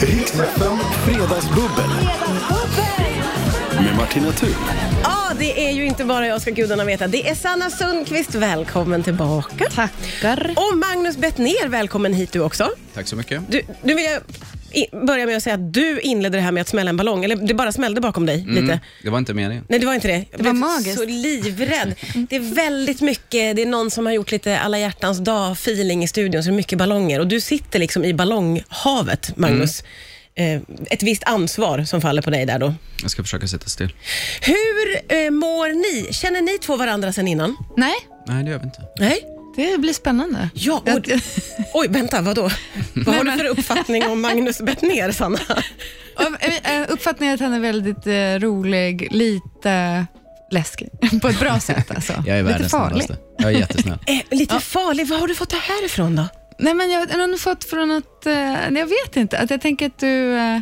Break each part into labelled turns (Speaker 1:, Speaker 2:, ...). Speaker 1: Riksfem Fredagsbubbel med Martina Thun.
Speaker 2: Ja, det är ju inte bara jag ska gudarna veta. Det är Sanna Sundqvist, välkommen tillbaka.
Speaker 3: Tackar.
Speaker 2: Och Magnus Bettner, välkommen hit du också.
Speaker 4: Tack så mycket.
Speaker 2: Du, nu vill jag i- börja med att säga att du inledde det här med att smälla en ballong, eller det bara smällde bakom dig lite.
Speaker 4: Mm, Det var inte meningen. Mm.
Speaker 2: Nej, det var inte det. Jag
Speaker 3: Det var
Speaker 2: blev
Speaker 3: magiskt.
Speaker 2: så livrädd. Det är väldigt mycket, det är någon som har gjort lite alla hjärtans dag-feeling i studion, så det är mycket ballonger. Och du sitter liksom i ballonghavet,
Speaker 4: Mm.
Speaker 2: Magnus. Eh, ett visst ansvar som faller på dig där då.
Speaker 4: Jag ska försöka sitta still.
Speaker 2: Hur eh, mår ni? Känner ni två varandra sen innan?
Speaker 3: Nej,
Speaker 4: Nej, det gör vi inte.
Speaker 2: Nej.
Speaker 3: det blir spännande.
Speaker 2: Ja, och,
Speaker 3: Jag-
Speaker 2: oj, vänta, vadå? Vad har du för uppfattning om Magnus Bettner, Sanna?
Speaker 3: Av- eh, eh, Uppfattningen är att han är väldigt eh, rolig, lite läskig. På ett bra sätt alltså.
Speaker 4: Jag är
Speaker 3: lite
Speaker 4: världens
Speaker 3: farlig.
Speaker 4: snällaste. Jag är jättesnäll.
Speaker 2: Eh, lite farlig, vad har du fått det här ifrån då?
Speaker 3: Nej, men jag har nog fått från att, eh, nej, jag vet inte, att jag tänker att du, eh,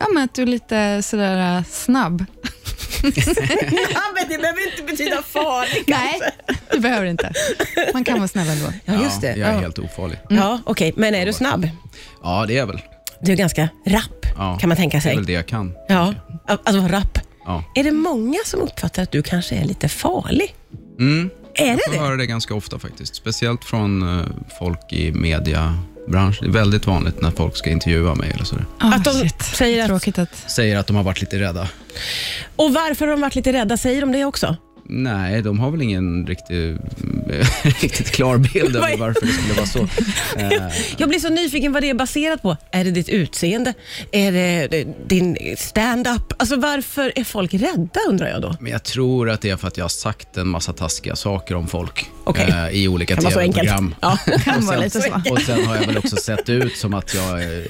Speaker 3: ja, men att du är lite sådär eh, snabb.
Speaker 2: Ja, men det behöver inte betyda farlig
Speaker 3: Nej, det behöver du inte. Man kan vara snabb ändå.
Speaker 2: Ja, just det.
Speaker 4: Ja, jag är
Speaker 2: Ja. Mm.
Speaker 4: helt ofarlig.
Speaker 2: Ja, okej, men är du snabb?
Speaker 4: Ja, det är jag väl.
Speaker 2: Du är ganska rapp,
Speaker 4: Ja,
Speaker 2: kan man tänka
Speaker 4: Det är
Speaker 2: sig.
Speaker 4: väl det jag kan.
Speaker 2: Ja, alltså rapp.
Speaker 4: Ja.
Speaker 2: Är det många som uppfattar att du kanske är lite farlig?
Speaker 4: Mm.
Speaker 2: Är det
Speaker 4: Jag får
Speaker 2: det?
Speaker 4: höra det ganska ofta faktiskt. Speciellt från eh, folk i mediabranschen. Det är väldigt vanligt när folk ska intervjua mig eller sådär.
Speaker 3: Ah,
Speaker 2: Att de
Speaker 3: shit.
Speaker 2: säger att-
Speaker 3: Tråkigt att...
Speaker 4: Säger att de har varit lite rädda.
Speaker 2: Och varför har de varit lite rädda? Säger de det också?
Speaker 4: Nej, de har väl ingen riktig, eh, riktigt klar bild
Speaker 2: Vad är-
Speaker 4: över varför det skulle vara så. Eh,
Speaker 2: Jag blir så nyfiken vad det är baserat på. Är det ditt utseende? Är det eh, din stand-up? Alltså varför är folk rädda undrar jag då?
Speaker 4: Men jag tror att det är för att jag har sagt en massa taskiga saker om folk
Speaker 2: Okej.
Speaker 4: eh, i olika
Speaker 2: Kan vara så
Speaker 4: tv-program.
Speaker 2: enkelt. Ja.
Speaker 3: Kan
Speaker 4: Och
Speaker 3: vara
Speaker 4: sen-
Speaker 3: lite så.
Speaker 4: Och sen har jag väl också sett ut som att jag eh,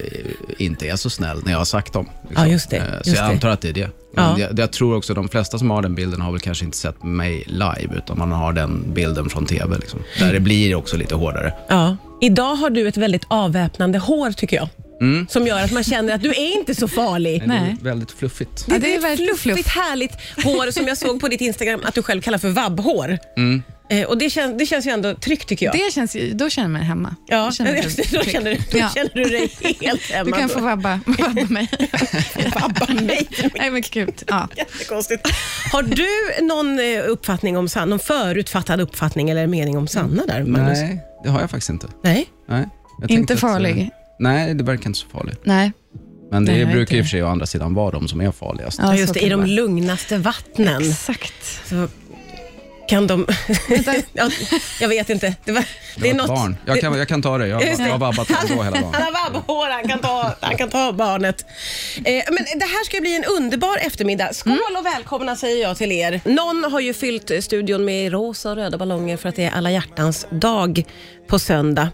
Speaker 4: inte är så snäll när jag har sagt dem. liksom.
Speaker 2: Ja, just det.
Speaker 4: Eh, Så
Speaker 2: Just
Speaker 4: jag
Speaker 2: det.
Speaker 4: antar att det är det.
Speaker 2: Ja.
Speaker 4: Men jag, jag tror också de flesta som har den bilden har väl kanske inte sett mig live, utan man har den bilden från tv. Liksom. Där det blir också lite hårdare.
Speaker 2: Ja. Idag har du ett väldigt avväpnande hår tycker jag. Som gör att man känner att du är inte så farlig.
Speaker 3: Nej. det
Speaker 4: är väldigt fluffigt.
Speaker 3: Ja, det är verkligen
Speaker 2: fluffigt
Speaker 3: fluff.
Speaker 2: härligt hår som jag såg på ditt Instagram att du själv kallar för vabbhår.
Speaker 4: Mm.
Speaker 2: Eh, och det, kän, det känns ju ändå tryggt tycker jag.
Speaker 3: Det känns, ju- då känner jag mig hemma.
Speaker 2: ja,
Speaker 3: Då känner jag mig
Speaker 2: då,
Speaker 3: trygg.
Speaker 2: känner, du- då
Speaker 3: Ja.
Speaker 2: känner du dig helt hemma.
Speaker 3: Du kan
Speaker 2: då.
Speaker 3: få vabba, vabba mig.
Speaker 2: vabba mig.
Speaker 3: Nej, men gud. Ja.
Speaker 2: Jättekonstigt. Har du någon eh, uppfattning om Sanna, någon förutfattad uppfattning eller mening om Sanna där? Magnus?
Speaker 4: Nej, det har jag faktiskt inte.
Speaker 2: Nej.
Speaker 4: Nej. Jag
Speaker 3: Inte
Speaker 4: tänkte att, eh,
Speaker 3: farlig.
Speaker 4: nej, det verkar inte så farligt.
Speaker 3: Nej.
Speaker 4: Men det
Speaker 3: Nej, jag vet
Speaker 4: brukar i och
Speaker 3: inte.
Speaker 4: för sig å andra sidan vara de som är farligast.
Speaker 2: Ja,
Speaker 3: Ja,
Speaker 2: just
Speaker 3: så
Speaker 2: det,
Speaker 3: kan
Speaker 2: I de
Speaker 3: det
Speaker 2: lugnaste vattnen
Speaker 3: Exakt.
Speaker 2: så kan de... ja, jag vet inte. Det, var,
Speaker 4: Jag
Speaker 2: det är
Speaker 4: har ett
Speaker 2: något...
Speaker 4: barn. Jag kan, jag kan ta det. Jag, har-
Speaker 2: Just det.
Speaker 4: jag har vabbat ändå hela dagen.
Speaker 2: Han har vabbhår, han kan ta, han kan ta barnet. Eh, men det här ska bli en underbar eftermiddag. Skål och välkomna säger jag till er. Mm. Någon har ju fyllt eh, studion med rosa och röda ballonger för att det är alla hjärtans dag på söndag.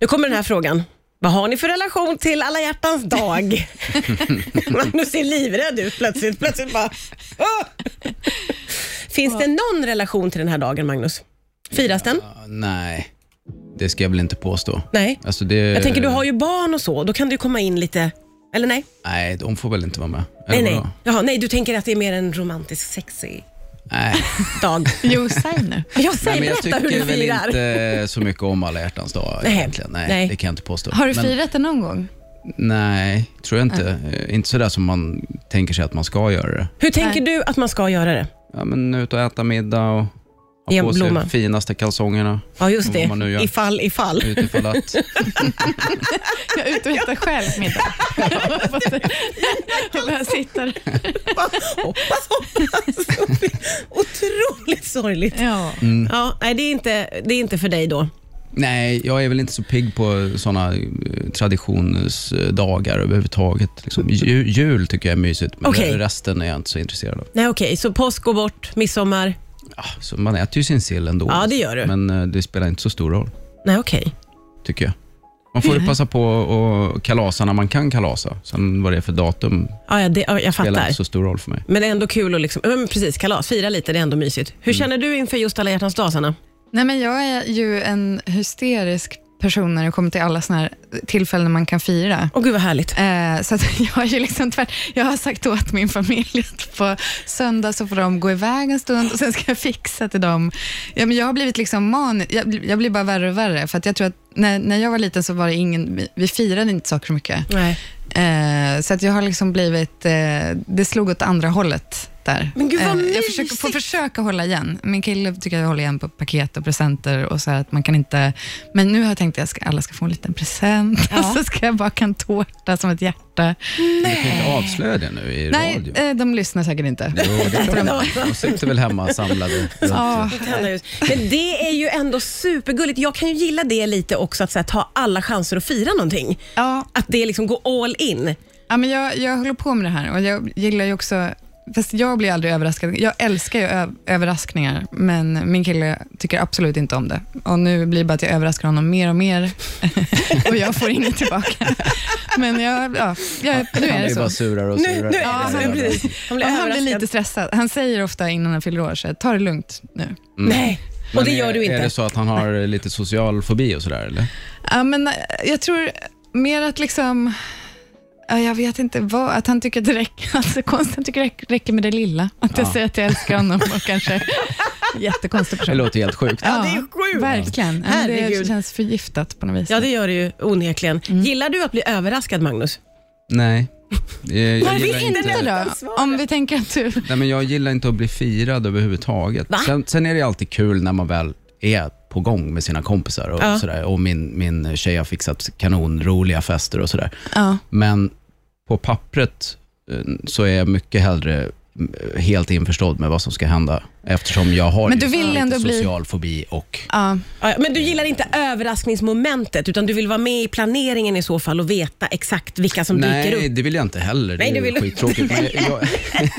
Speaker 2: Nu kommer den här frågan. Vad har ni för relation till alla hjärtans dag? Magnus är livrädd ut plötsligt. plötsligt bara, "Åh!" Finns det någon relation till den här dagen, Magnus? Firas den?
Speaker 4: Ja, Ah, Nej, det ska jag väl inte påstå.
Speaker 2: Nej.
Speaker 4: Alltså det,
Speaker 2: Jag tänker, du har ju barn och så, då kan du komma in lite... Eller nej?
Speaker 4: Nej, de får väl inte vara med?
Speaker 2: Nej,
Speaker 4: Eller
Speaker 2: nej.
Speaker 4: vadå?
Speaker 2: Jaha, nej, du tänker att det är mer en romantisk, sexig
Speaker 4: nej.
Speaker 2: dag.
Speaker 3: Jo, säg nu.
Speaker 2: Jag säger,
Speaker 4: Nej, men jag
Speaker 2: berätta hur
Speaker 4: tycker
Speaker 2: du
Speaker 4: väl
Speaker 2: firar.
Speaker 4: inte så mycket om alla hjärtans dag
Speaker 2: Nej.
Speaker 4: egentligen. Nej,
Speaker 2: Nej.
Speaker 4: det kan jag inte påstå.
Speaker 3: Har du
Speaker 4: Men-
Speaker 3: firat det någon gång?
Speaker 4: Nej, tror jag inte. Eh, Inte sådär som man tänker sig att man ska göra det.
Speaker 2: Hur tänker du att man ska göra det?
Speaker 4: Ja, men ut och äta middag och
Speaker 2: I
Speaker 4: ha
Speaker 2: en
Speaker 4: på sig
Speaker 2: blomma.
Speaker 4: de finaste kalsongerna.
Speaker 2: Ja, just
Speaker 4: Vad
Speaker 2: det.
Speaker 4: man nu gör.
Speaker 2: Ifall, ifall.
Speaker 4: Utifall att...
Speaker 3: Jag är ute och äter själv middag. och bara sitter.
Speaker 2: Hoppas, hoppas, hoppas. Otroligt sorgligt.
Speaker 3: Ja.
Speaker 4: Mm.
Speaker 2: Ja, nej, det är, inte, det är inte för dig då.
Speaker 4: Nej, jag är väl inte så pigg på såna eh, traditionsdagar överhuvudtaget. Liksom, ju, jul tycker jag är mysigt, men
Speaker 2: Mm. Okej.
Speaker 4: resten är jag inte så intresserad av.
Speaker 2: Nej, okej. Så påsk går bort, midsommar.
Speaker 4: Ja, så man äter ju sin sill ändå.
Speaker 2: Ja, det gör du.
Speaker 4: Men eh, det spelar inte så stor roll,
Speaker 2: Nej, okej.
Speaker 4: tycker jag. Man
Speaker 2: Mm.
Speaker 4: får ju passa på att kalasa när man kan kalasa. Sen vad det är för datum
Speaker 2: Ja, ja, det, ja, jag
Speaker 4: spelar
Speaker 2: fattar.
Speaker 4: inte så stor roll för mig.
Speaker 2: Men det är ändå kul att liksom, ja, men precis, kalas, fira lite, det är ändå
Speaker 4: Mm.
Speaker 2: mysigt. Hur känner du inför just alla hjärtans dag, Sanna?
Speaker 3: Nej, men jag är ju en hysterisk person när det kommer till alla såna här tillfällen man kan fira.
Speaker 2: Åh gud vad härligt.
Speaker 3: Eh, så att jag, är ju liksom tvärt, jag har sagt åt min familj att på söndag så får de gå iväg en stund och sen ska jag fixa till dem. Ja, men jag har blivit liksom man, jag, blir- jag blir bara värre och värre. För att jag tror att när, när jag var liten så var det ingen, vi, vi firade inte saker så mycket.
Speaker 2: Nej.
Speaker 3: Eh, så att jag har liksom blivit, eh, det slog åt andra hållet där. Eh,
Speaker 2: Men gud, vad
Speaker 3: jag försöker, får
Speaker 2: mysigt.
Speaker 3: försöka hålla igen. Min kille tycker jag håller igen på paket och presenter och så här att man kan inte, men nu har jag tänkt att jag ska, alla ska få en liten present och så ska jag baka en tårta som ett hjärta.
Speaker 4: Du kan inte avslöja det nu i
Speaker 3: Nej,
Speaker 4: Mm. radio.
Speaker 3: eh, de lyssnar säkert inte.
Speaker 4: Jo, det är klart. De sitter väl hemma samlade.
Speaker 3: Ja.
Speaker 2: Det kan jag ju- Men det är ju ändå supergulligt. Jag kan ju gilla det lite också, att så här, ta alla chanser att fira någonting.
Speaker 3: Ja,
Speaker 2: Att det liksom går all in.
Speaker 3: Ja, men jag, jag håller på med det här och jag gillar ju också, fast jag blir aldrig överraskad. Jag älskar ju ö- överraskningar, men min kille tycker absolut inte om det. Och nu blir det bara att jag överraskar honom mer och mer och jag får inget tillbaka. Men jag, ja, jag, nu
Speaker 4: Han
Speaker 3: är det
Speaker 4: blir bara
Speaker 3: så.
Speaker 4: surare och surare.
Speaker 2: Nu, nu är
Speaker 3: Ja,
Speaker 2: det så.
Speaker 3: men
Speaker 2: precis. Han blir
Speaker 3: och han blir
Speaker 2: överraskad.
Speaker 3: lite stressad. Han säger ofta innan han fyller år, så här, ta det lugnt nu.
Speaker 2: Nej, och
Speaker 4: Men
Speaker 2: det gör
Speaker 4: är,
Speaker 2: du
Speaker 4: Är
Speaker 2: inte.
Speaker 4: det så att han har lite social fobi och sådär eller?
Speaker 3: Ja, men, eh, jag tror mer att liksom, ja, jag vet inte vad, att han tycker att det räcker, alltså konsten tycker det räck- räcker med det lilla. Att jag
Speaker 4: Ja.
Speaker 3: säger att jag älskar honom och kanske jättekonstig
Speaker 4: Det
Speaker 3: person.
Speaker 4: låter helt sjukt.
Speaker 2: Ja, det är sjukt.
Speaker 3: Verkligen. Ja, men
Speaker 2: Herregud.
Speaker 3: det känns förgiftat på något vis.
Speaker 2: Ja, det gör det ju onekligen. Gillar du att bli överraskad, Magnus?
Speaker 4: Nej. Eh, Jag
Speaker 3: Varför
Speaker 4: gillar
Speaker 3: inte,
Speaker 4: inte,
Speaker 3: då? Om vi tänker att du...
Speaker 4: nej, men jag gillar inte att bli firad överhuvudtaget.
Speaker 2: Va?
Speaker 4: Sen, sen är det alltid kul när man väl är på gång med sina kompisar och
Speaker 2: Ja.
Speaker 4: sådär. Och min, min tjej har fixat kanonroliga fester och sådär.
Speaker 3: Ja.
Speaker 4: Men på pappret eh, så är jag mycket hellre mm, helt införstådd med vad som ska hända eftersom jag har
Speaker 3: Men
Speaker 4: just
Speaker 3: du vill
Speaker 4: lite
Speaker 3: ändå bli-
Speaker 4: social fobi och
Speaker 3: Ja.
Speaker 2: Ja, Men du gillar inte överraskningsmomentet, utan du vill vara med i planeringen i så fall och veta exakt vilka som dyker
Speaker 4: Nej,
Speaker 2: upp.
Speaker 4: det vill jag inte heller.
Speaker 2: Nej,
Speaker 4: det
Speaker 2: det
Speaker 4: är
Speaker 2: vill du-
Speaker 4: ju skittråkigt. Men jag, jag,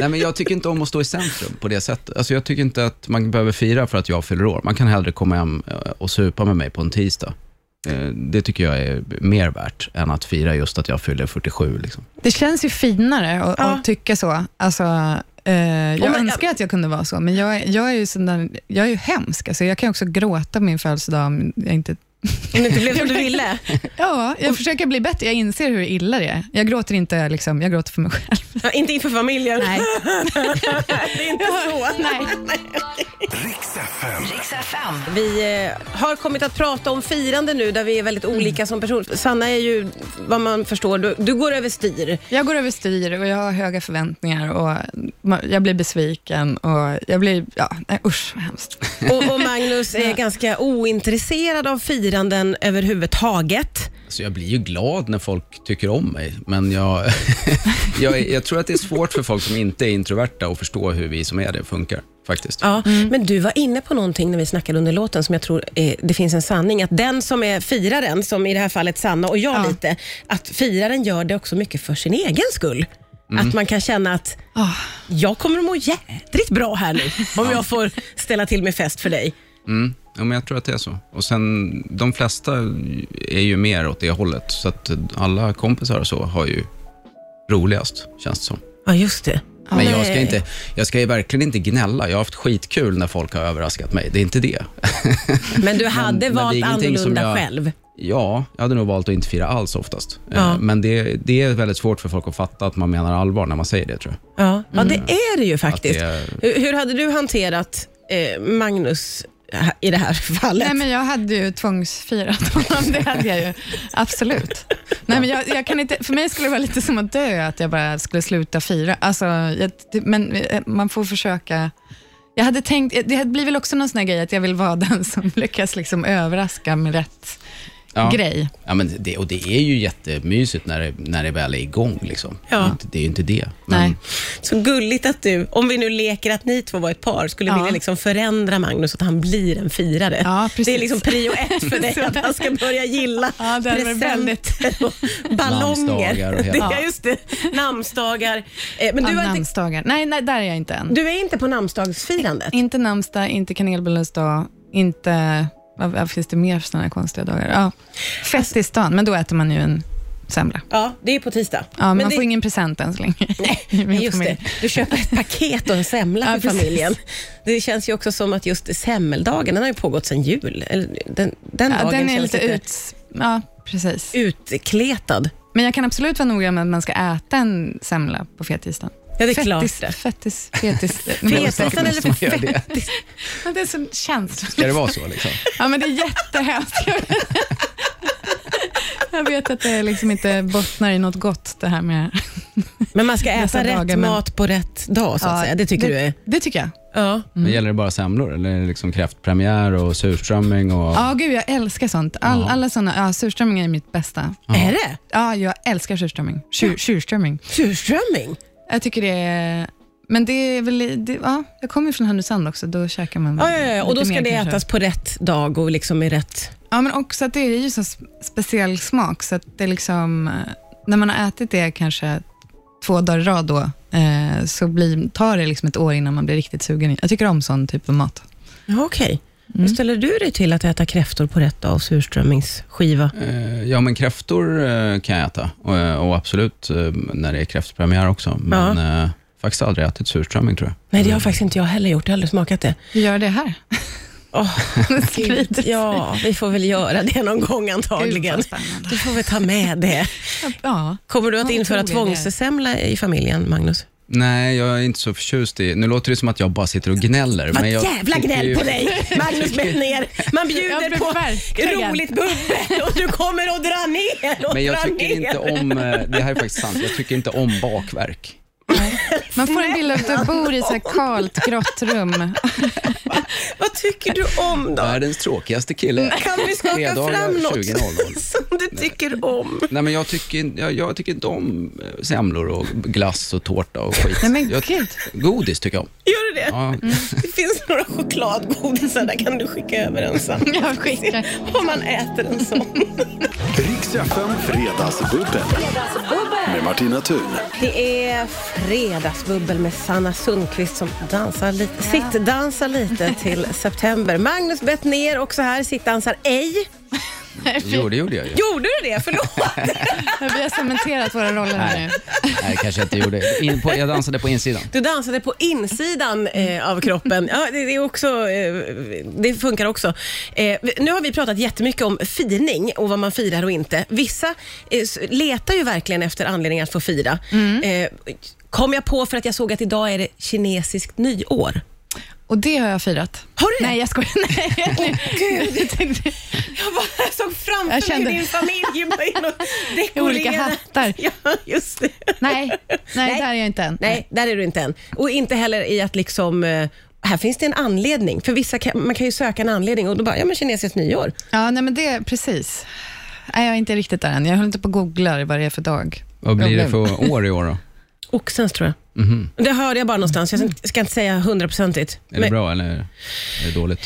Speaker 4: nej, men jag tycker inte om att stå i centrum på det sättet. Alltså, jag tycker inte att man behöver fira för att jag fyller år. Man kan hellre komma hem eh, och supa med mig på en tisdag. Eh, Det tycker jag är mer värt än att fira just att jag fyller 47. Liksom.
Speaker 3: Det känns ju finare att,
Speaker 2: Ja.
Speaker 3: att tycka så. Alltså, eh, jag
Speaker 2: Och man-
Speaker 3: önskar att jag kunde vara så, men jag, är- jag, är, ju sån där, jag är ju hemsk. Alltså, jag kan också gråta på min födelsedag om jag inte
Speaker 2: Om det inte blev som du ville.
Speaker 3: Ja, jag försöker bli bättre. Jag inser hur illa det är. Jag gråter inte, liksom, jag gråter för mig själv.
Speaker 2: Ja, inte inför familjen.
Speaker 3: Nej.
Speaker 2: Det är inte så.
Speaker 1: Riks FM.
Speaker 2: Vi eh, har kommit att prata om firande nu, där vi är väldigt olika som person. Sanna är ju, vad man förstår, du, du går över styr.
Speaker 3: Jag går över styr och jag har höga förväntningar och ma- jag blir besviken och jag blir, ja, nej, usch vad hemskt.
Speaker 2: Och, och Magnus är ganska ointresserad av firanden överhuvudtaget.
Speaker 4: Så Alltså, jag blir ju glad när folk tycker om mig, men jag, jag, är- jag tror att det är svårt för folk som inte är introverta att förstå hur vi som är det funkar. Faktiskt.
Speaker 2: Ja,
Speaker 3: Mm.
Speaker 2: Men du var inne på någonting när vi snackade under låten som jag tror eh, det finns en sanning. Att den som är firaren, som i det här fallet Sanna och jag
Speaker 3: Ja.
Speaker 2: lite, att firaren gör det också mycket för sin egen skull. Att man kan känna att
Speaker 3: Mm. Ah.
Speaker 2: jag kommer att må jädrigt bra här nu om jag får ställa till med fest för dig.
Speaker 4: Mm. Ja, men jag tror att det är så. Och sen, de flesta är ju mer åt det hållet, så att alla kompisar och så har ju roligast, känns det som.
Speaker 2: Ja, just det.
Speaker 4: Men
Speaker 3: Ja.
Speaker 4: jag ska,
Speaker 2: Nej.
Speaker 4: inte, jag ska ju verkligen inte gnälla. Jag har haft skitkul när folk har överraskat mig. Det är inte det.
Speaker 2: Men du hade
Speaker 4: men det är
Speaker 2: valt
Speaker 4: ingenting som
Speaker 2: annorlunda
Speaker 4: jag-
Speaker 2: själv.
Speaker 4: Ja, jag hade nog valt att inte fira alls oftast. Eh,
Speaker 2: Ja.
Speaker 4: Men det, det är väldigt svårt för folk att fatta att man menar allvar när man säger det, tror jag.
Speaker 2: Ja, ja det är det ju faktiskt.
Speaker 4: Mm. Att
Speaker 2: Hur, hur hade du hanterat eh, Magnus eh, i det här fallet?
Speaker 3: Nej men jag hade ju tvångsfirat honom, det hade jag ju. Absolut. Nej, men jag, jag kan inte, för mig skulle det vara lite som att dö, att jag bara skulle sluta fira. Alltså, jag, men eh, man får försöka. Jag hade tänkt, det blir väl också någon sån här grej att jag vill vara den som lyckas liksom överraska med rätt
Speaker 4: Ja.
Speaker 3: grej.
Speaker 4: Ja, men det, och det är ju jättemysigt när det, när det väl är igång. Liksom.
Speaker 2: Ja.
Speaker 4: Det är inte- Det är ju inte det. Men-
Speaker 3: Nej.
Speaker 2: Så gulligt att du, om vi nu leker att ni två var ett par, skulle
Speaker 3: Ja.
Speaker 2: vilja liksom förändra Magnus så att han blir en firare.
Speaker 3: Ja, precis.
Speaker 2: Det är liksom prio ett för dig, att han ska börja gilla
Speaker 3: Ja, det hade varit
Speaker 2: presenter och ballonger.
Speaker 4: Namnsdagar och hela-
Speaker 2: det,
Speaker 4: Ja.
Speaker 2: ja. Just det, namnsdagar. Eh, Men
Speaker 3: Du
Speaker 2: du,
Speaker 3: ja,
Speaker 2: har inte,
Speaker 3: namnsdagar. Nej, nej, där är jag inte än.
Speaker 2: du är inte på namnsdagsfirandet?
Speaker 3: Inte namnsdag, inte kanelbullens dag, inte... Vad, vad finns det mer för sådana här konstiga dagar? Ja. Fest i stan, men då äter man ju en semla.
Speaker 2: Ja, det är på tisdag.
Speaker 3: Ja, man
Speaker 2: det,
Speaker 3: får ingen present än så länge. i min
Speaker 2: Nej, just det.
Speaker 3: familj.
Speaker 2: Du köper ett paket och en semla
Speaker 3: Ja,
Speaker 2: för
Speaker 3: precis.
Speaker 2: familjen. Det känns ju också som att just semmeldagen, den har ju pågått sedan jul. Eller, den den
Speaker 3: Ja,
Speaker 2: dagen
Speaker 3: den är
Speaker 2: känns
Speaker 3: lite ut... Ja, precis.
Speaker 2: utkletad.
Speaker 3: Men jag kan absolut vara noga med att man ska äta en semla på fettisdagen.
Speaker 2: Ja, det är klart
Speaker 3: Fettis-
Speaker 2: det.
Speaker 3: Fettis, fettis.
Speaker 2: Fettisdagen eller
Speaker 4: Måste man göra det?
Speaker 3: Men det är sån känsla.
Speaker 4: Ska det vara så liksom?
Speaker 3: Ja, men det är jättehemskt. Jag vet- Jag vet att det liksom inte bottnar i något gott det här med...
Speaker 2: Men man ska
Speaker 3: Dessa
Speaker 2: äta rätt
Speaker 3: dagar, men-
Speaker 2: mat på rätt dag, så att
Speaker 3: Ja,
Speaker 2: säga. Det tycker du är...
Speaker 3: Det tycker jag.
Speaker 2: Ja.
Speaker 4: Men gäller det bara semlor eller är det liksom kräftpremiär och surströmming? Och...
Speaker 3: Ja, gud jag älskar sånt. All,
Speaker 4: Ja.
Speaker 3: Alla såna, ja, surströmming är mitt bästa.
Speaker 2: Är det?
Speaker 3: Ja, jag älskar surströmming. Tjur, surströmming.
Speaker 2: Surströmming?
Speaker 3: Jag tycker det är... Men det är väl... Det, ja, jag kommer ju från Härnösand också, då käkar man
Speaker 2: Ja, ja, ja. Och
Speaker 3: lite
Speaker 2: då ska
Speaker 3: mer
Speaker 2: det
Speaker 3: kanske.
Speaker 2: ätas på rätt dag och liksom i rätt...
Speaker 3: Ja, men också att det är ju så s- speciell smak, så att det liksom... eh, När man har ätit det kanske två dagar i rad då, eh, så blir, tar det liksom ett år innan man blir riktigt sugen. Jag tycker om sån typ av mat.
Speaker 2: Ja, okej.
Speaker 3: Mm.
Speaker 2: Hur ställer du dig till att äta kräftor på rätt dag och surströmmingsskiva?
Speaker 4: Eh, Ja, men kräftor eh, kan jag äta och, eh, och absolut eh, när det är kräftpremiär också. Men eh, faktiskt aldrig ätit surströmming tror jag.
Speaker 2: Nej, det
Speaker 3: Mm.
Speaker 2: har faktiskt inte jag heller gjort. Jag har aldrig smakat det.
Speaker 3: Vi gör det här.
Speaker 2: Åh,
Speaker 3: Sprider sig.
Speaker 2: ja, vi får väl göra det någon gång antagligen.
Speaker 3: Gud, vad spännande.
Speaker 2: Du får vi ta med det.
Speaker 3: Ja.
Speaker 2: Kommer du att
Speaker 3: Ja,
Speaker 2: införa
Speaker 3: otrolig idé.
Speaker 2: tvångssemla i familjen, Magnus?
Speaker 4: Nej, jag är inte så förtjust i... Nu låter det som att jag bara sitter och gnäller.
Speaker 2: Vad
Speaker 4: men jag
Speaker 2: jävla
Speaker 4: tycker
Speaker 2: gnäll
Speaker 4: ju-
Speaker 2: på dig, Magnus ner. Man
Speaker 3: Ja,
Speaker 2: bjuder
Speaker 3: men
Speaker 2: på
Speaker 3: verkligen.
Speaker 2: roligt bubbel och du kommer och drar ner och
Speaker 4: Men jag
Speaker 2: drar
Speaker 4: tycker
Speaker 2: ner.
Speaker 4: inte om... eh, Det här är faktiskt sant. Jag tycker inte om bakverk.
Speaker 3: Man får en bild av att jag bor i ett så här kalt, grått rum.
Speaker 2: Vad tycker du om då?
Speaker 4: Världens tråkigaste kille.
Speaker 2: Kan vi skaka
Speaker 4: Fredagar
Speaker 2: fram något
Speaker 4: 20.00.
Speaker 2: som du tycker om?
Speaker 4: Nej, men jag, tycker, jag, jag tycker inte om eh, semlor och glass och tårta och skit.
Speaker 3: Nej, men
Speaker 4: jag,
Speaker 3: gud. Mm.
Speaker 4: Godis tycker jag om.
Speaker 2: Gör du det?
Speaker 4: Ja,
Speaker 2: Det finns några chokladgodisar, där kan du skicka över en sån.
Speaker 3: Jag skickar.
Speaker 2: Om man äter en sån.
Speaker 1: Riks FM Fredagsbubbel. Med Martina Thun.
Speaker 2: Det är fredagsbubbel med Sanna Sundqvist som dansar lite, sittdansar lite till september. Magnus bett ner och så här sittdansar ej.
Speaker 4: jo, det gjorde jag ju.
Speaker 2: Gjorde du det? Förlåt!
Speaker 3: Vi har cementerat våra roller här nu.
Speaker 4: Nej, kanske jag inte gjorde. In på, jag dansade på insidan.
Speaker 2: Du dansade på insidan eh, av kroppen. Ja, det, det, är också, eh, det funkar också. Eh, nu har vi pratat jättemycket om firning och vad man firar och inte. Vissa eh, s- letar ju verkligen efter anledningar att få fira. Eh, kom jag på för att jag såg att idag är det kinesiskt nyår.
Speaker 3: Och det har jag firat.
Speaker 2: Har du det?
Speaker 3: Nej, jag skojar. Nej. Gud.
Speaker 2: Jag bara såg framför
Speaker 3: Jag kände-
Speaker 2: mig din familj var in och
Speaker 3: I
Speaker 2: dekorerade.
Speaker 3: olika hattar.
Speaker 2: Ja, just det.
Speaker 3: Nej, nej,
Speaker 2: Nej.
Speaker 3: där är jag inte än.
Speaker 2: Nej, där är du inte än. Och inte heller i att liksom eh, här finns det en anledning. För vissa kan, man kan ju söka en anledning och då bara, ja men kinesiskt nyår.
Speaker 3: Ja, nej men det, precis. Nej, jag är inte riktigt där än. Jag håller inte på och googlar vad det är för dag.
Speaker 4: Vad blir det för år i år då? Mhm.
Speaker 2: Oxens tror jag. Det hörde jag bara någonstans. Jag
Speaker 3: Mm.
Speaker 2: ska- ska inte säga hundraprocentigt.
Speaker 4: Är det bra eller är det dåligt?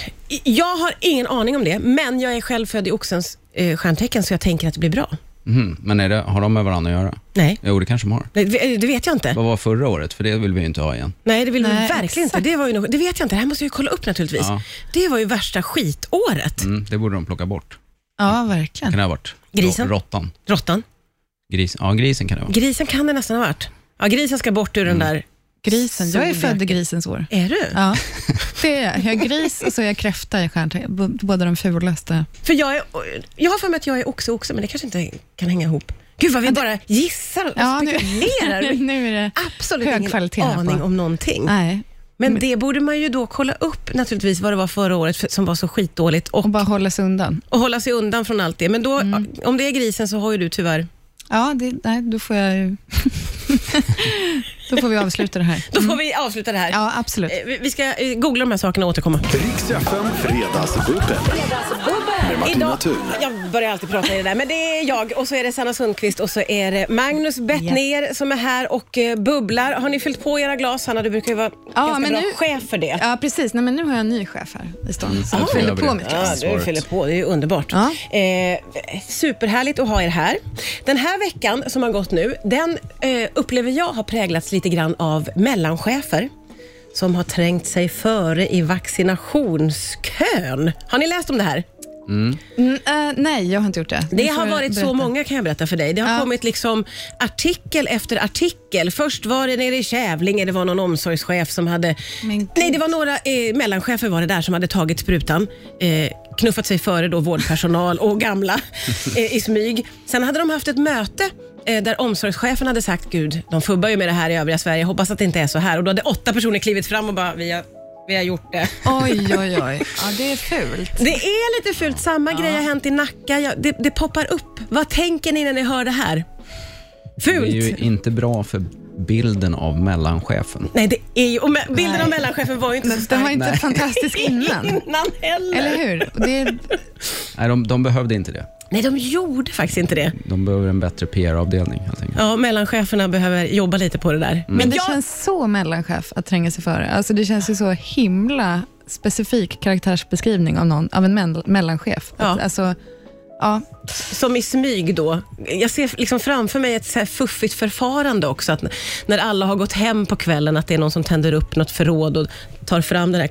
Speaker 2: Jag har ingen aning om det, men jag är själv född i Oxens eh, stjärntecken så jag tänker att det blir bra.
Speaker 4: Mhm, Men är det, har de med varandra att göra?
Speaker 2: Nej,
Speaker 4: Jo, det kanske de har.
Speaker 2: det, det vet jag inte.
Speaker 4: Vad var förra året? För det vill vi ju inte ha igen.
Speaker 2: Nej, det vill vi
Speaker 3: Nej,
Speaker 2: verkligen
Speaker 3: exakt.
Speaker 2: inte. Det, var ju nog, det vet jag inte. Det här måste jag ju kolla upp naturligtvis.
Speaker 4: Ja.
Speaker 2: Det var ju värsta skitåret.
Speaker 4: Mm, det borde de plocka bort.
Speaker 3: Ja,
Speaker 4: Kan
Speaker 3: verkligen.
Speaker 4: det ha varit?
Speaker 2: Grisen?
Speaker 4: Rå- Råttan.
Speaker 2: Råttan.
Speaker 4: Gris. Ja, grisen kan det vara.
Speaker 2: Grisen kan det nästan ha varit. Ja, grisen ska bort ur
Speaker 4: Mm.
Speaker 2: den där.
Speaker 3: Grisen. Jag är
Speaker 2: Så
Speaker 3: född i
Speaker 2: jäkla-
Speaker 3: grisens år.
Speaker 2: Är du?
Speaker 3: Ja, det är jag. Jag är gris och så är jag kräfta i stjärntecken. B- Båda de fulaste.
Speaker 2: För jag, är, jag har för mig att jag är oxe oxe, men det kanske inte kan hänga ihop. Gud vad vi bara gissar och
Speaker 3: Ja, nu-
Speaker 2: spekulerar. Vi
Speaker 3: nu är det...
Speaker 2: har Absolut
Speaker 3: Hög kvalitet
Speaker 2: ingen
Speaker 3: här på.
Speaker 2: aning om någonting.
Speaker 3: Nej,
Speaker 2: Men det borde man ju då kolla upp naturligtvis vad det var förra året för, som var så skitdåligt och,
Speaker 3: och bara hålla sig undan.
Speaker 2: och hålla sig undan från allt det. Men då,
Speaker 3: Mm.
Speaker 2: om det är grisen så har ju du tyvärr,
Speaker 3: Ja, det, nej, då får jag ju... då får vi avsluta det här.
Speaker 2: då får vi avsluta det här.
Speaker 3: Mm. Ja, absolut.
Speaker 2: Eh, Vi vi ska eh, googla de här sakerna och återkomma.
Speaker 1: Riks FM Fredagsbubbel. Med Martina
Speaker 2: Idag,
Speaker 1: Thun.
Speaker 2: jag börjar alltid prata i det där, men det är jag och så är det Sanna Sundqvist och så är det Magnus Bettner som är här och eh, bubblar. Har ni fyllt på era glas? Sanna, du brukar ju vara ganska
Speaker 3: men
Speaker 2: bra
Speaker 3: nu-
Speaker 2: chef för det.
Speaker 3: Ja, precis. Nej, men nu har jag en ny chef här i stan, så
Speaker 4: jag
Speaker 3: jag
Speaker 4: tror
Speaker 3: fyller
Speaker 4: jag
Speaker 3: på
Speaker 4: blir-
Speaker 3: mitt
Speaker 2: Ja,
Speaker 3: glas.
Speaker 2: du
Speaker 4: Svaret.
Speaker 2: fyller på. Det är ju underbart.
Speaker 3: Ja.
Speaker 2: Eh, superhärligt att ha er här. Den här veckan som har gått nu, den eh, upplever jag har präglats lite grann av mellanchefer som har trängt sig före i vaccinationskön. Har ni läst om det här?
Speaker 3: N- eh, nej, jag har inte gjort det.
Speaker 2: Det
Speaker 3: Ni
Speaker 2: har
Speaker 3: får
Speaker 2: varit så
Speaker 3: berätta.
Speaker 2: många kan jag berätta för dig. Det har
Speaker 3: Ja.
Speaker 2: kommit liksom artikel efter artikel. Först var det nere i Kävlinge, det var någon omsorgschef som hade...
Speaker 3: Men gud.
Speaker 2: Nej, det var några eh, mellanchefer var det där som hade tagit sprutan. Eh, knuffat sig före då vårdpersonal och gamla eh, i smyg. Sen hade de haft ett möte eh, där omsorgschefen hade sagt, gud, de fubbar ju med det här i övriga Sverige, hoppas att det inte är så här. Och då hade åtta personer klivit fram och bara, vi har, vi har gjort det.
Speaker 3: Oj, oj, oj. Ja, det är fult.
Speaker 2: Det är lite fult. Samma grej har hänt i Nacka. Jag, det, det poppar upp. Vad tänker ni när ni hör det här?
Speaker 4: Det är
Speaker 2: Fult!
Speaker 4: ju inte bra för bilden av mellanchefen.
Speaker 2: Nej, det är ju... Och me- bilden
Speaker 3: Nej.
Speaker 2: av mellanchefen var ju inte så
Speaker 3: Den var
Speaker 2: stark
Speaker 3: inte
Speaker 4: Nej.
Speaker 3: fantastisk innan.
Speaker 2: innan heller.
Speaker 3: Eller hur? Det är,
Speaker 4: Nej, de, de behövde inte det.
Speaker 2: Nej, de gjorde faktiskt inte det.
Speaker 4: De behöver en bättre PR-avdelning helt enkelt.
Speaker 2: Ja, mellancheferna behöver jobba lite på det där.
Speaker 3: Mm. men det
Speaker 2: jag-
Speaker 3: känns så mellanchef att tränga sig före. Alltså, det känns ju så himla specifik karaktärsbeskrivning av, någon, av en mell- mellanchef. Att,
Speaker 2: Ja.
Speaker 3: alltså, ja,
Speaker 2: Som i smyg då. Jag ser liksom framför mig ett så här fuffigt förfarande också. Att n- när alla har gått hem på kvällen, att det är någon som tänder upp något förråd och tar fram det här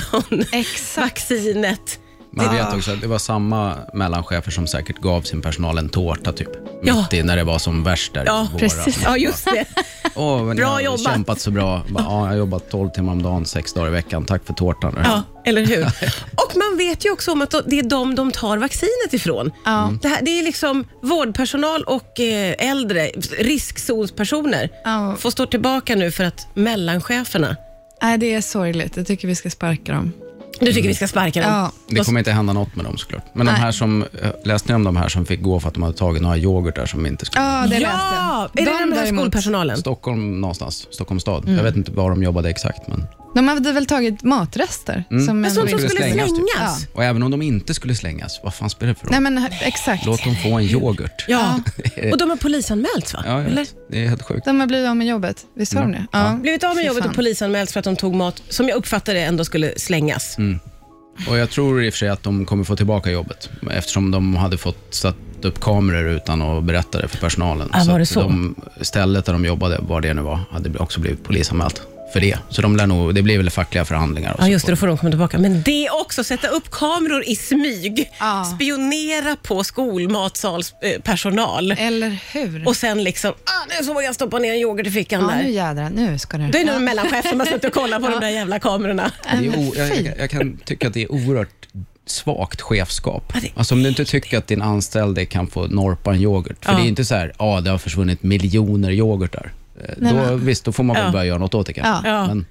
Speaker 3: Exakt.
Speaker 2: covid-19-vaccinet.
Speaker 4: Man
Speaker 2: Ah.
Speaker 4: vet också att det var samma mellanchefer som säkert gav sin personal en tårta typ.
Speaker 2: Ja.
Speaker 4: Mitt i när det var som värst där
Speaker 2: Ja,
Speaker 4: i våras.
Speaker 3: precis.
Speaker 2: Ja, just det.
Speaker 4: Åh, men
Speaker 2: Bra
Speaker 4: jag har
Speaker 2: jobbat.
Speaker 4: kämpat så bra. Bara, Ja, jag har jobbat 12 timmar om dagen, sex dagar i veckan. Tack för tårtan.
Speaker 2: Ja, eller hur? Och man vet ju också om att det är de de tar vaccinet ifrån.
Speaker 3: Ja. Mm.
Speaker 2: Det, här, det är liksom vårdpersonal och eh, äldre, riskzonspersoner,
Speaker 3: Ja.
Speaker 2: får stå tillbaka nu för att mellancheferna...
Speaker 3: nej, det är sorgligt. Jag tycker vi ska sparka dem.
Speaker 2: Du tycker vi ska sparka dem?
Speaker 3: Ja.
Speaker 4: Det kommer inte hända något med dem såklart. Men de
Speaker 3: Nej.
Speaker 4: här som, eh, läste ni om de här som fick gå för att de hade tagit några yoghurtar som inte skulle...
Speaker 3: Ja, det läste
Speaker 2: Ja! Är det den här
Speaker 3: däremot-
Speaker 2: skolpersonalen?
Speaker 4: Stockholm någonstans, Stockholms stad.
Speaker 2: Mm.
Speaker 4: Jag vet inte var de jobbade exakt. Men...
Speaker 3: De hade väl tagit matrester? Som en-
Speaker 2: Sånt som
Speaker 4: skulle
Speaker 2: skulle slängas?
Speaker 4: slängas, typ.
Speaker 2: Ja.
Speaker 4: Och även om de inte skulle slängas, vad fan spelar det för roll?
Speaker 3: Nej, men exakt.
Speaker 4: Låt dem få en yoghurt.
Speaker 2: Och de har polisanmälts, va?
Speaker 4: Ja, jag
Speaker 2: Eller?
Speaker 4: vet. Det är helt sjukt.
Speaker 3: De har blivit av med jobbet. Visst var de det? Ja.
Speaker 2: Blivit av med
Speaker 3: Fy
Speaker 2: jobbet
Speaker 3: fan.
Speaker 2: och polisanmälts för att de tog mat som jag uppfattade ändå skulle slängas.
Speaker 4: Och jag tror i och för sig att de kommer få tillbaka jobbet eftersom de hade fått satt upp kameror utan att berätta det för personalen.
Speaker 2: Ah, var det
Speaker 4: att
Speaker 2: så?
Speaker 4: De, stället där de jobbade, var det nu var, hade också blivit polisanmält för det. Så de lär nog, det blir väl fackliga förhandlingar. Och
Speaker 2: Ja,
Speaker 4: så
Speaker 2: just det. Då
Speaker 4: på-
Speaker 2: får de komma tillbaka. Men det också, sätta upp kameror i smyg.
Speaker 3: Ja.
Speaker 2: Spionera på
Speaker 3: Eh.
Speaker 2: skolmatsalspersonal.
Speaker 3: Eller hur?
Speaker 2: Och sen liksom, ah, nu såg jag stoppa ner en yoghurt i fickan
Speaker 3: ja,
Speaker 2: där.
Speaker 3: nu jädrar. Nu ska det...
Speaker 2: Då är det någon mellanchef som har suttit och kollat på de där jävla kamerorna.
Speaker 4: Det är
Speaker 3: men
Speaker 4: o, jag,
Speaker 3: fy.
Speaker 4: jag, jag kan tycka att det är oerhört svagt chefskap.
Speaker 2: Ja, det är
Speaker 4: Alltså om du inte tycker att din anställde kan få norpa en yoghurt. För
Speaker 2: Ja.
Speaker 4: det är ju inte så här, ja det har försvunnit miljoner yoghurtar. Eh,
Speaker 3: Nej,
Speaker 4: då,
Speaker 3: men-
Speaker 4: Visst, då får man väl
Speaker 2: Ja.
Speaker 4: börja göra något åt det kanske.
Speaker 2: Ja.
Speaker 4: Men,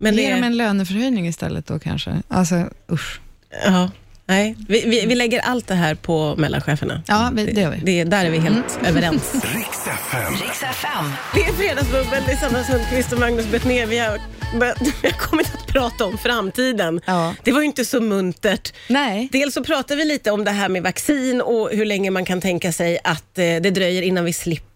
Speaker 2: Men det
Speaker 3: Ge dem
Speaker 2: är,
Speaker 3: en löneförhöjning istället då kanske. Alltså, usch.
Speaker 2: ja, nej. Vi, vi, vi lägger allt det här på mellancheferna.
Speaker 3: Ja, vi- Mm. det gör vi.
Speaker 2: Det, där är vi helt överens.
Speaker 1: Riks FM.
Speaker 5: Riks FM.
Speaker 2: Det är Fredagsbubbel, det är Sandra Sundqvist och Magnus Betnér. Vi har, börjat- vi har kommit att prata om framtiden.
Speaker 3: Ja.
Speaker 2: Det var ju inte så muntert.
Speaker 3: Nej.
Speaker 2: Dels så pratar vi lite om det här med vaccin och hur länge man kan tänka sig att eh, det dröjer innan vi slipper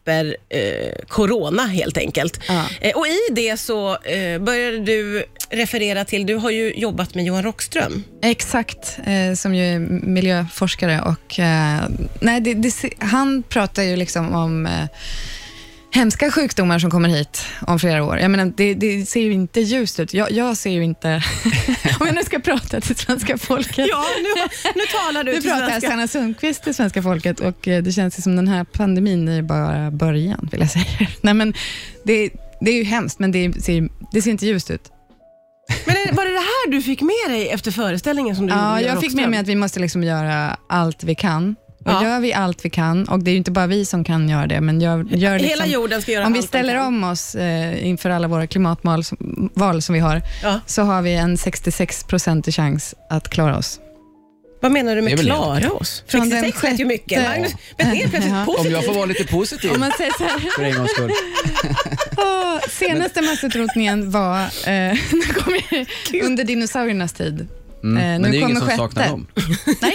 Speaker 2: eh, corona helt enkelt.
Speaker 3: Ja.
Speaker 2: Eh, och i det så eh, började du referera till, du har ju jobbat med Johan Rockström.
Speaker 3: Exakt, eh, som ju är miljöforskare. Och, eh, nej, det, det, se- han pratar ju liksom om eh, hemska sjukdomar som kommer hit om flera år. Jag menar, det, det ser ju inte ljust ut. Jag, jag ser ju inte... om jag nu ska prata till svenska folket.
Speaker 2: nu, nu talar
Speaker 3: Nu pratar jag Sanna Sundqvist till svenska folket och eh, det känns ju som den här pandemin är ju bara början, vill jag säga. Nej, men det, det är ju hemskt, men det ser, det ser inte ljust ut.
Speaker 2: Men är det- var det det här du fick med dig efter föreställningen som du gjorde
Speaker 3: Ja,
Speaker 2: med Johan
Speaker 3: jag fick med
Speaker 2: Rockström?
Speaker 3: mig att vi måste liksom göra allt vi kan. Och
Speaker 2: Ja.
Speaker 3: Gör vi allt vi kan, och det är ju inte bara vi som kan göra det, men gör, gör liksom,
Speaker 2: Hela jorden ska göra
Speaker 3: om vi
Speaker 2: allt den
Speaker 3: ställer
Speaker 2: kan.
Speaker 3: om oss eh, inför alla våra klimatval som, val som vi har,
Speaker 2: Ja.
Speaker 3: så har vi en 66-procentig chans att klara oss.
Speaker 2: Vad menar du
Speaker 4: Det är
Speaker 2: med
Speaker 4: väl
Speaker 2: klara oss?
Speaker 3: Från den
Speaker 2: 66 lät ju mycket.
Speaker 3: sjätte-
Speaker 2: Magnus, men det är plötsligt
Speaker 3: Ja.
Speaker 4: om
Speaker 2: positivt.
Speaker 4: jag får vara lite positiv
Speaker 3: Om man säger så här,
Speaker 4: för en gångs skull.
Speaker 3: Åh, senaste massutrotningen var eh, när kom jag, under dinosauriernas tid. Eh,
Speaker 4: Mm. Men det är ju ingen som
Speaker 3: sjätte.
Speaker 4: saknar dem.
Speaker 3: Nej,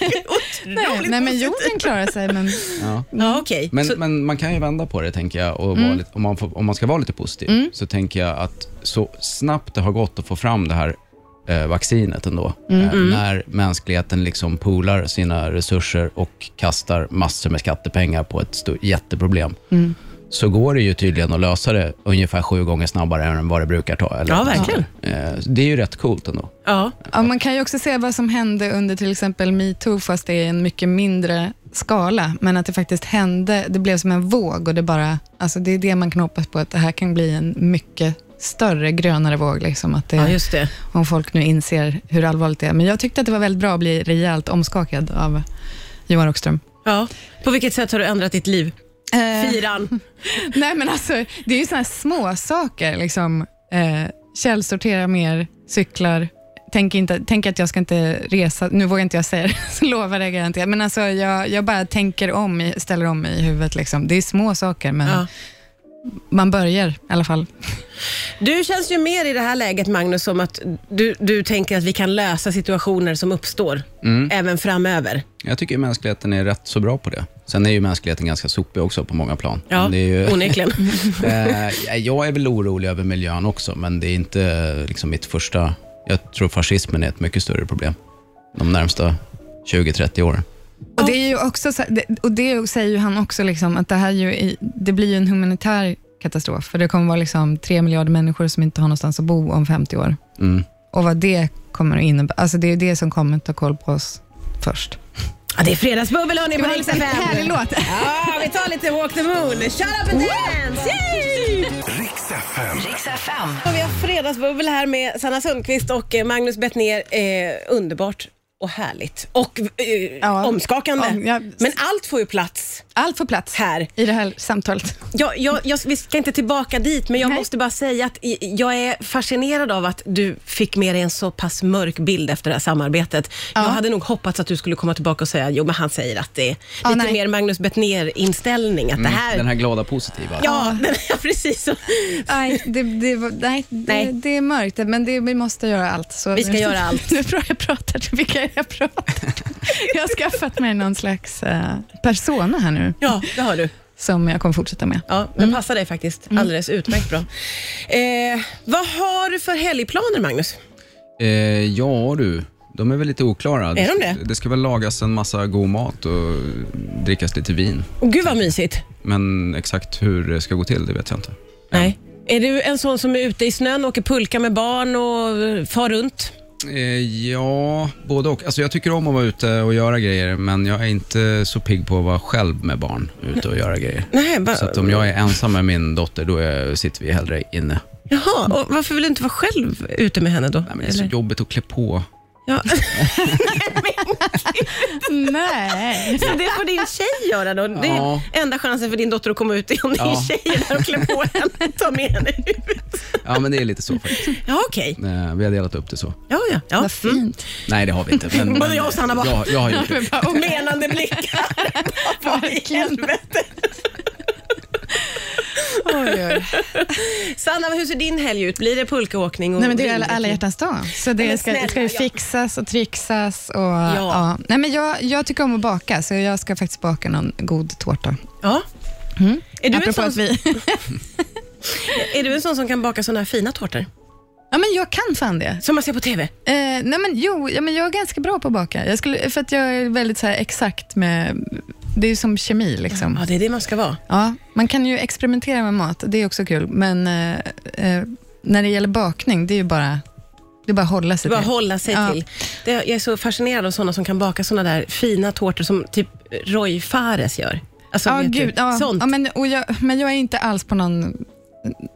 Speaker 3: nej,
Speaker 2: Otroligt
Speaker 3: nej, men
Speaker 2: positivt.
Speaker 3: jorden klarar sig, men
Speaker 4: Ja.
Speaker 2: Ja, okej.
Speaker 4: Men,
Speaker 2: Så- Mm.
Speaker 4: men man kan ju vända på det, tänker jag. Och vara lite, om, man får, om man ska vara lite positiv, så tänker jag att så snabbt det har gått att få fram det här eh, vaccinet ändå,
Speaker 2: Mm,
Speaker 4: eh, när mänskligheten liksom poolar
Speaker 3: Mm.
Speaker 4: sina resurser och kastar massor med skattepengar på ett stort jätteproblem, så går det ju tydligen att lösa det ungefär sju gånger snabbare än vad det brukar ta. Eller
Speaker 2: Ja, verkligen.
Speaker 4: Eh, Det är ju rätt coolt ändå.
Speaker 2: Ja.
Speaker 3: Ja, man kan ju också se vad som hände under till exempel metoo, fast det är en mycket mindre skala, men att det faktiskt hände, det blev som en våg och det bara, alltså det är det man kan hoppas på, att det här kan bli en mycket större, grönare våg, liksom att det,
Speaker 2: ja, just det.
Speaker 3: om folk nu inser hur allvarligt det är. Men jag tyckte att det var väldigt bra att bli rejält omskakad av Johan Rockström.
Speaker 2: Ja. På vilket sätt har du ändrat ditt liv?
Speaker 3: Eh,
Speaker 2: Firan.
Speaker 3: Nej, men alltså, det är ju sådana små saker. Liksom. Eh, källsortera mer, cyklar. Tänk, inte, tänk att jag ska inte resa. Nu vågar inte jag säga det, så lovar jag garanterat. Men alltså, jag, jag bara tänker om, i- ställer om i huvudet. Liksom. Det är små saker, men
Speaker 2: Ja.
Speaker 3: man börjar i alla fall.
Speaker 2: Du känns ju mer i det här läget, Magnus, som att du, du tänker att vi kan lösa situationer som uppstår
Speaker 4: Mm.
Speaker 2: även framöver.
Speaker 4: Jag tycker ju mänskligheten är rätt så bra på det. Sen är ju mänskligheten ganska sopig också på många plan.
Speaker 2: Ja,
Speaker 4: Men det är ju,
Speaker 2: onekligen.
Speaker 4: Eh, jag är väl orolig över miljön också, men det är inte eh, liksom mitt första... Jag tror fascismen är ett mycket större problem de närmsta 20-30 åren.
Speaker 3: Och det, är ju också, så- det- och det säger ju han också, liksom, att det här ju, är- det blir ju en humanitär katastrof. För det kommer vara liksom tre miljarder människor som inte har någonstans att bo om 50 år.
Speaker 4: Mm.
Speaker 3: Och vad det kommer att innebära. Alltså, det är ju det som kommer att ta koll på oss först.
Speaker 2: Ja, det är fredagsbubbel, hörni, på Rix
Speaker 3: härlig
Speaker 2: FM.
Speaker 3: låt.
Speaker 2: Ja, vi tar lite Walk the Moon. Shut up and dance! Yay!
Speaker 1: Riks FM.
Speaker 5: Riks FM.
Speaker 2: Och vi har fredagsbubbel här med Sanna Sundqvist och eh, Magnus Bettner. Eh, underbart och härligt och eh,
Speaker 3: Ja.
Speaker 2: omskakande.
Speaker 3: Om- ja.
Speaker 2: Men allt får ju plats
Speaker 3: Allt får plats
Speaker 2: här.
Speaker 3: i det här samtalet.
Speaker 2: Jag, jag, jag, vi ska inte tillbaka dit, men jag
Speaker 3: Nej.
Speaker 2: måste bara säga att i- jag är fascinerad av att du fick med dig en så pass mörk bild efter det här samarbetet. Jag hade nog hoppats att du skulle komma tillbaka och säga, jo men han säger att det är
Speaker 3: Ja,
Speaker 2: lite
Speaker 3: nej.
Speaker 2: mer Magnus Bettner inställning att det här...
Speaker 4: Mm, Den här glada positiva.
Speaker 2: Ja, den här, precis. Så.
Speaker 3: Nej, det, det, var- nej,
Speaker 2: Nej.
Speaker 3: Det, det är mörkt, men det, vi måste göra allt. Så
Speaker 2: Vi ska göra allt.
Speaker 3: Nu tror jag pratar till vilka jag pratar till. Jag har skaffat mig någon slags eh, persona här nu,
Speaker 2: Ja, det har du.
Speaker 3: som jag kommer fortsätta med.
Speaker 2: Ja, den passar dig faktiskt
Speaker 3: Mm.
Speaker 2: alldeles utmärkt bra. Eh, vad har du för helgplaner, Magnus?
Speaker 4: Eh, ja du, de är väl lite oklara. Är
Speaker 2: de det?
Speaker 4: Det ska väl lagas en massa god mat och drickas lite vin.
Speaker 2: Åh, Gud vad mysigt.
Speaker 4: Men exakt hur det ska gå till, det vet jag inte.
Speaker 2: Nej. Är du en sån som är ute i snön, åker pulka med barn och eh, far runt?
Speaker 4: Eh, ja, både och. Alltså, jag tycker om att vara ute och göra grejer, men jag är inte så pigg på att vara själv med barn ute och göra grejer.
Speaker 2: Nej, bara...
Speaker 4: Så att om jag är ensam med min dotter, då är, sitter vi hellre inne.
Speaker 2: Jaha, och varför vill du inte vara själv ute med henne då?
Speaker 4: Nej, men det är så
Speaker 2: Eller?
Speaker 4: jobbigt att klä på.
Speaker 2: ja.
Speaker 3: Nej.
Speaker 2: så det får din tjej göra då? Det är
Speaker 4: Ja.
Speaker 2: enda chansen för din dotter att komma ut är om din
Speaker 4: Ja.
Speaker 2: tjej är där och klär på henne och tar med henne ut.
Speaker 4: Ja, men det är lite så faktiskt.
Speaker 2: Ja, okej.
Speaker 4: Eh, vi har delat upp det så.
Speaker 2: Ja, ja. ja.
Speaker 3: Vad fint.
Speaker 4: Nej, det har vi inte. Men,
Speaker 2: Både
Speaker 4: men,
Speaker 2: jag och Sanna bara-
Speaker 4: Jag, jag har gjort det.
Speaker 2: Och menande blickar. Vad i
Speaker 3: Verkligen.
Speaker 2: helvete.
Speaker 3: Oj, oj.
Speaker 2: Sanna, hur ser din helg ut? Blir det pulkaåkning? Och
Speaker 3: Nej, men det är alla,
Speaker 2: vindrickning?
Speaker 3: alla hjärtans dag, så
Speaker 2: men
Speaker 3: det ska, ska
Speaker 2: snälla,
Speaker 3: ju
Speaker 2: ja.
Speaker 3: fixas och trixas. Och, ja. Nej, men jag, jag tycker om att baka, så jag ska faktiskt baka någon god tårta.
Speaker 2: Ja. Mm. Är, du en
Speaker 3: Apropå
Speaker 2: sån,
Speaker 3: att vi...
Speaker 2: är du en sån som kan baka såna här fina tårtor?
Speaker 3: ja, men jag kan fan det.
Speaker 2: Som man ser på TV?
Speaker 3: Eh, nej men jo, ja, men jag är ganska bra på att baka. Jag skulle, för att jag är väldigt så här, exakt med... Det är ju som kemi. Liksom.
Speaker 2: Ja, det är det man ska vara.
Speaker 3: Ja, man kan ju experimentera med mat, det är också kul. Men eh, eh, när det gäller bakning, det är ju bara, Typ det är bara att hålla sig
Speaker 2: Det är bara att
Speaker 3: till.
Speaker 2: hålla sig
Speaker 3: Ja.
Speaker 2: till. Det, jag är så fascinerad av såna som kan baka såna där fina tårtor som typ Roy Fares gör. Alltså,
Speaker 3: Ja,
Speaker 2: vet du,
Speaker 3: gud. Ja,
Speaker 2: Sånt.
Speaker 3: ja, men, och jag, men jag är inte alls på någon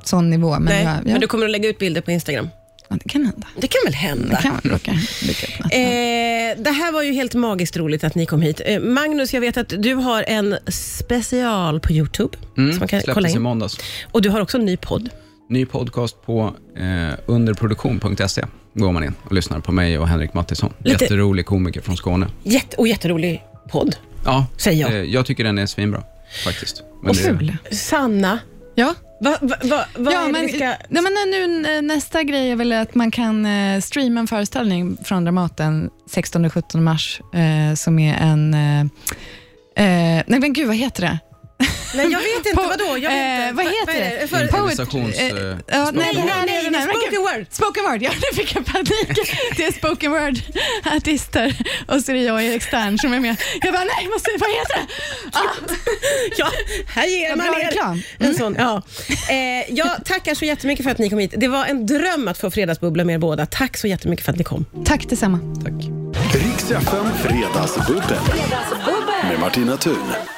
Speaker 3: sån nivå. Men,
Speaker 2: Nej,
Speaker 3: jag, jag,
Speaker 2: men du kommer att lägga ut bilder på Instagram.
Speaker 3: ja, det kan hända.
Speaker 2: Det kan väl
Speaker 3: Det
Speaker 2: hända?
Speaker 3: kan råka dyka upp något.
Speaker 2: Eh, det här var ju helt magiskt roligt att ni kom hit. Eh, Magnus, jag vet att du har en special på Youtube som man kan kolla
Speaker 4: Mm. Släpptes i
Speaker 2: in.
Speaker 4: måndags.
Speaker 2: Och du har också en ny podd.
Speaker 4: Ny podcast på eh, underproduktion.se. Går man in och lyssnar på mig och Henrik Mattisson.
Speaker 2: Lite-
Speaker 4: Jätterolig komiker från Skåne.
Speaker 2: Jätte, och jätterolig podd.
Speaker 4: Ja,
Speaker 2: Säger jag.
Speaker 4: Eh, jag tycker den är svinbra faktiskt. Men
Speaker 3: Och
Speaker 4: det-
Speaker 3: ful.
Speaker 2: Sanna,
Speaker 3: Ja.
Speaker 2: vad va, va, vad är
Speaker 3: Ja,
Speaker 2: det
Speaker 3: men,
Speaker 2: vi ska...
Speaker 3: nej, men nu, eh, nästa grej är väl att man kan eh, streama en föreställning från Dramaten 16 och 17 mars, eh, som är en... Eh, eh, nej, men gud, vad heter det?
Speaker 2: Nej, jag vet inte.
Speaker 3: Po-
Speaker 2: Vadå? Jag vet
Speaker 3: eh,
Speaker 2: inte.
Speaker 3: vad
Speaker 2: Va-
Speaker 3: heter
Speaker 2: är
Speaker 3: det?
Speaker 2: För,
Speaker 4: Improvis- Improvisations, eh,
Speaker 3: eh, ja,
Speaker 4: spoken
Speaker 3: nej, nej,
Speaker 4: word.
Speaker 3: nej, nej, nej,
Speaker 2: Spoken
Speaker 3: men-
Speaker 2: word.
Speaker 3: Spoken word, ja nu fick jag panik. Det är spoken word-artister och så är det jag, Erik Stern, som är med. Jag bara, nej, måste, vad heter det? Ah,
Speaker 2: ja, här ger
Speaker 3: Vad
Speaker 2: man
Speaker 3: bra
Speaker 2: er
Speaker 3: reklam. Mm.
Speaker 2: en sån. Ja. Eh, jag tackar så jättemycket för att ni kom hit. Det var en dröm att få fredagsbubbla med er båda. Tack så jättemycket för att ni kom.
Speaker 3: tack detsamma.
Speaker 4: Tack.
Speaker 1: Riks FM Fredagsbubbel. Med Martina Thun.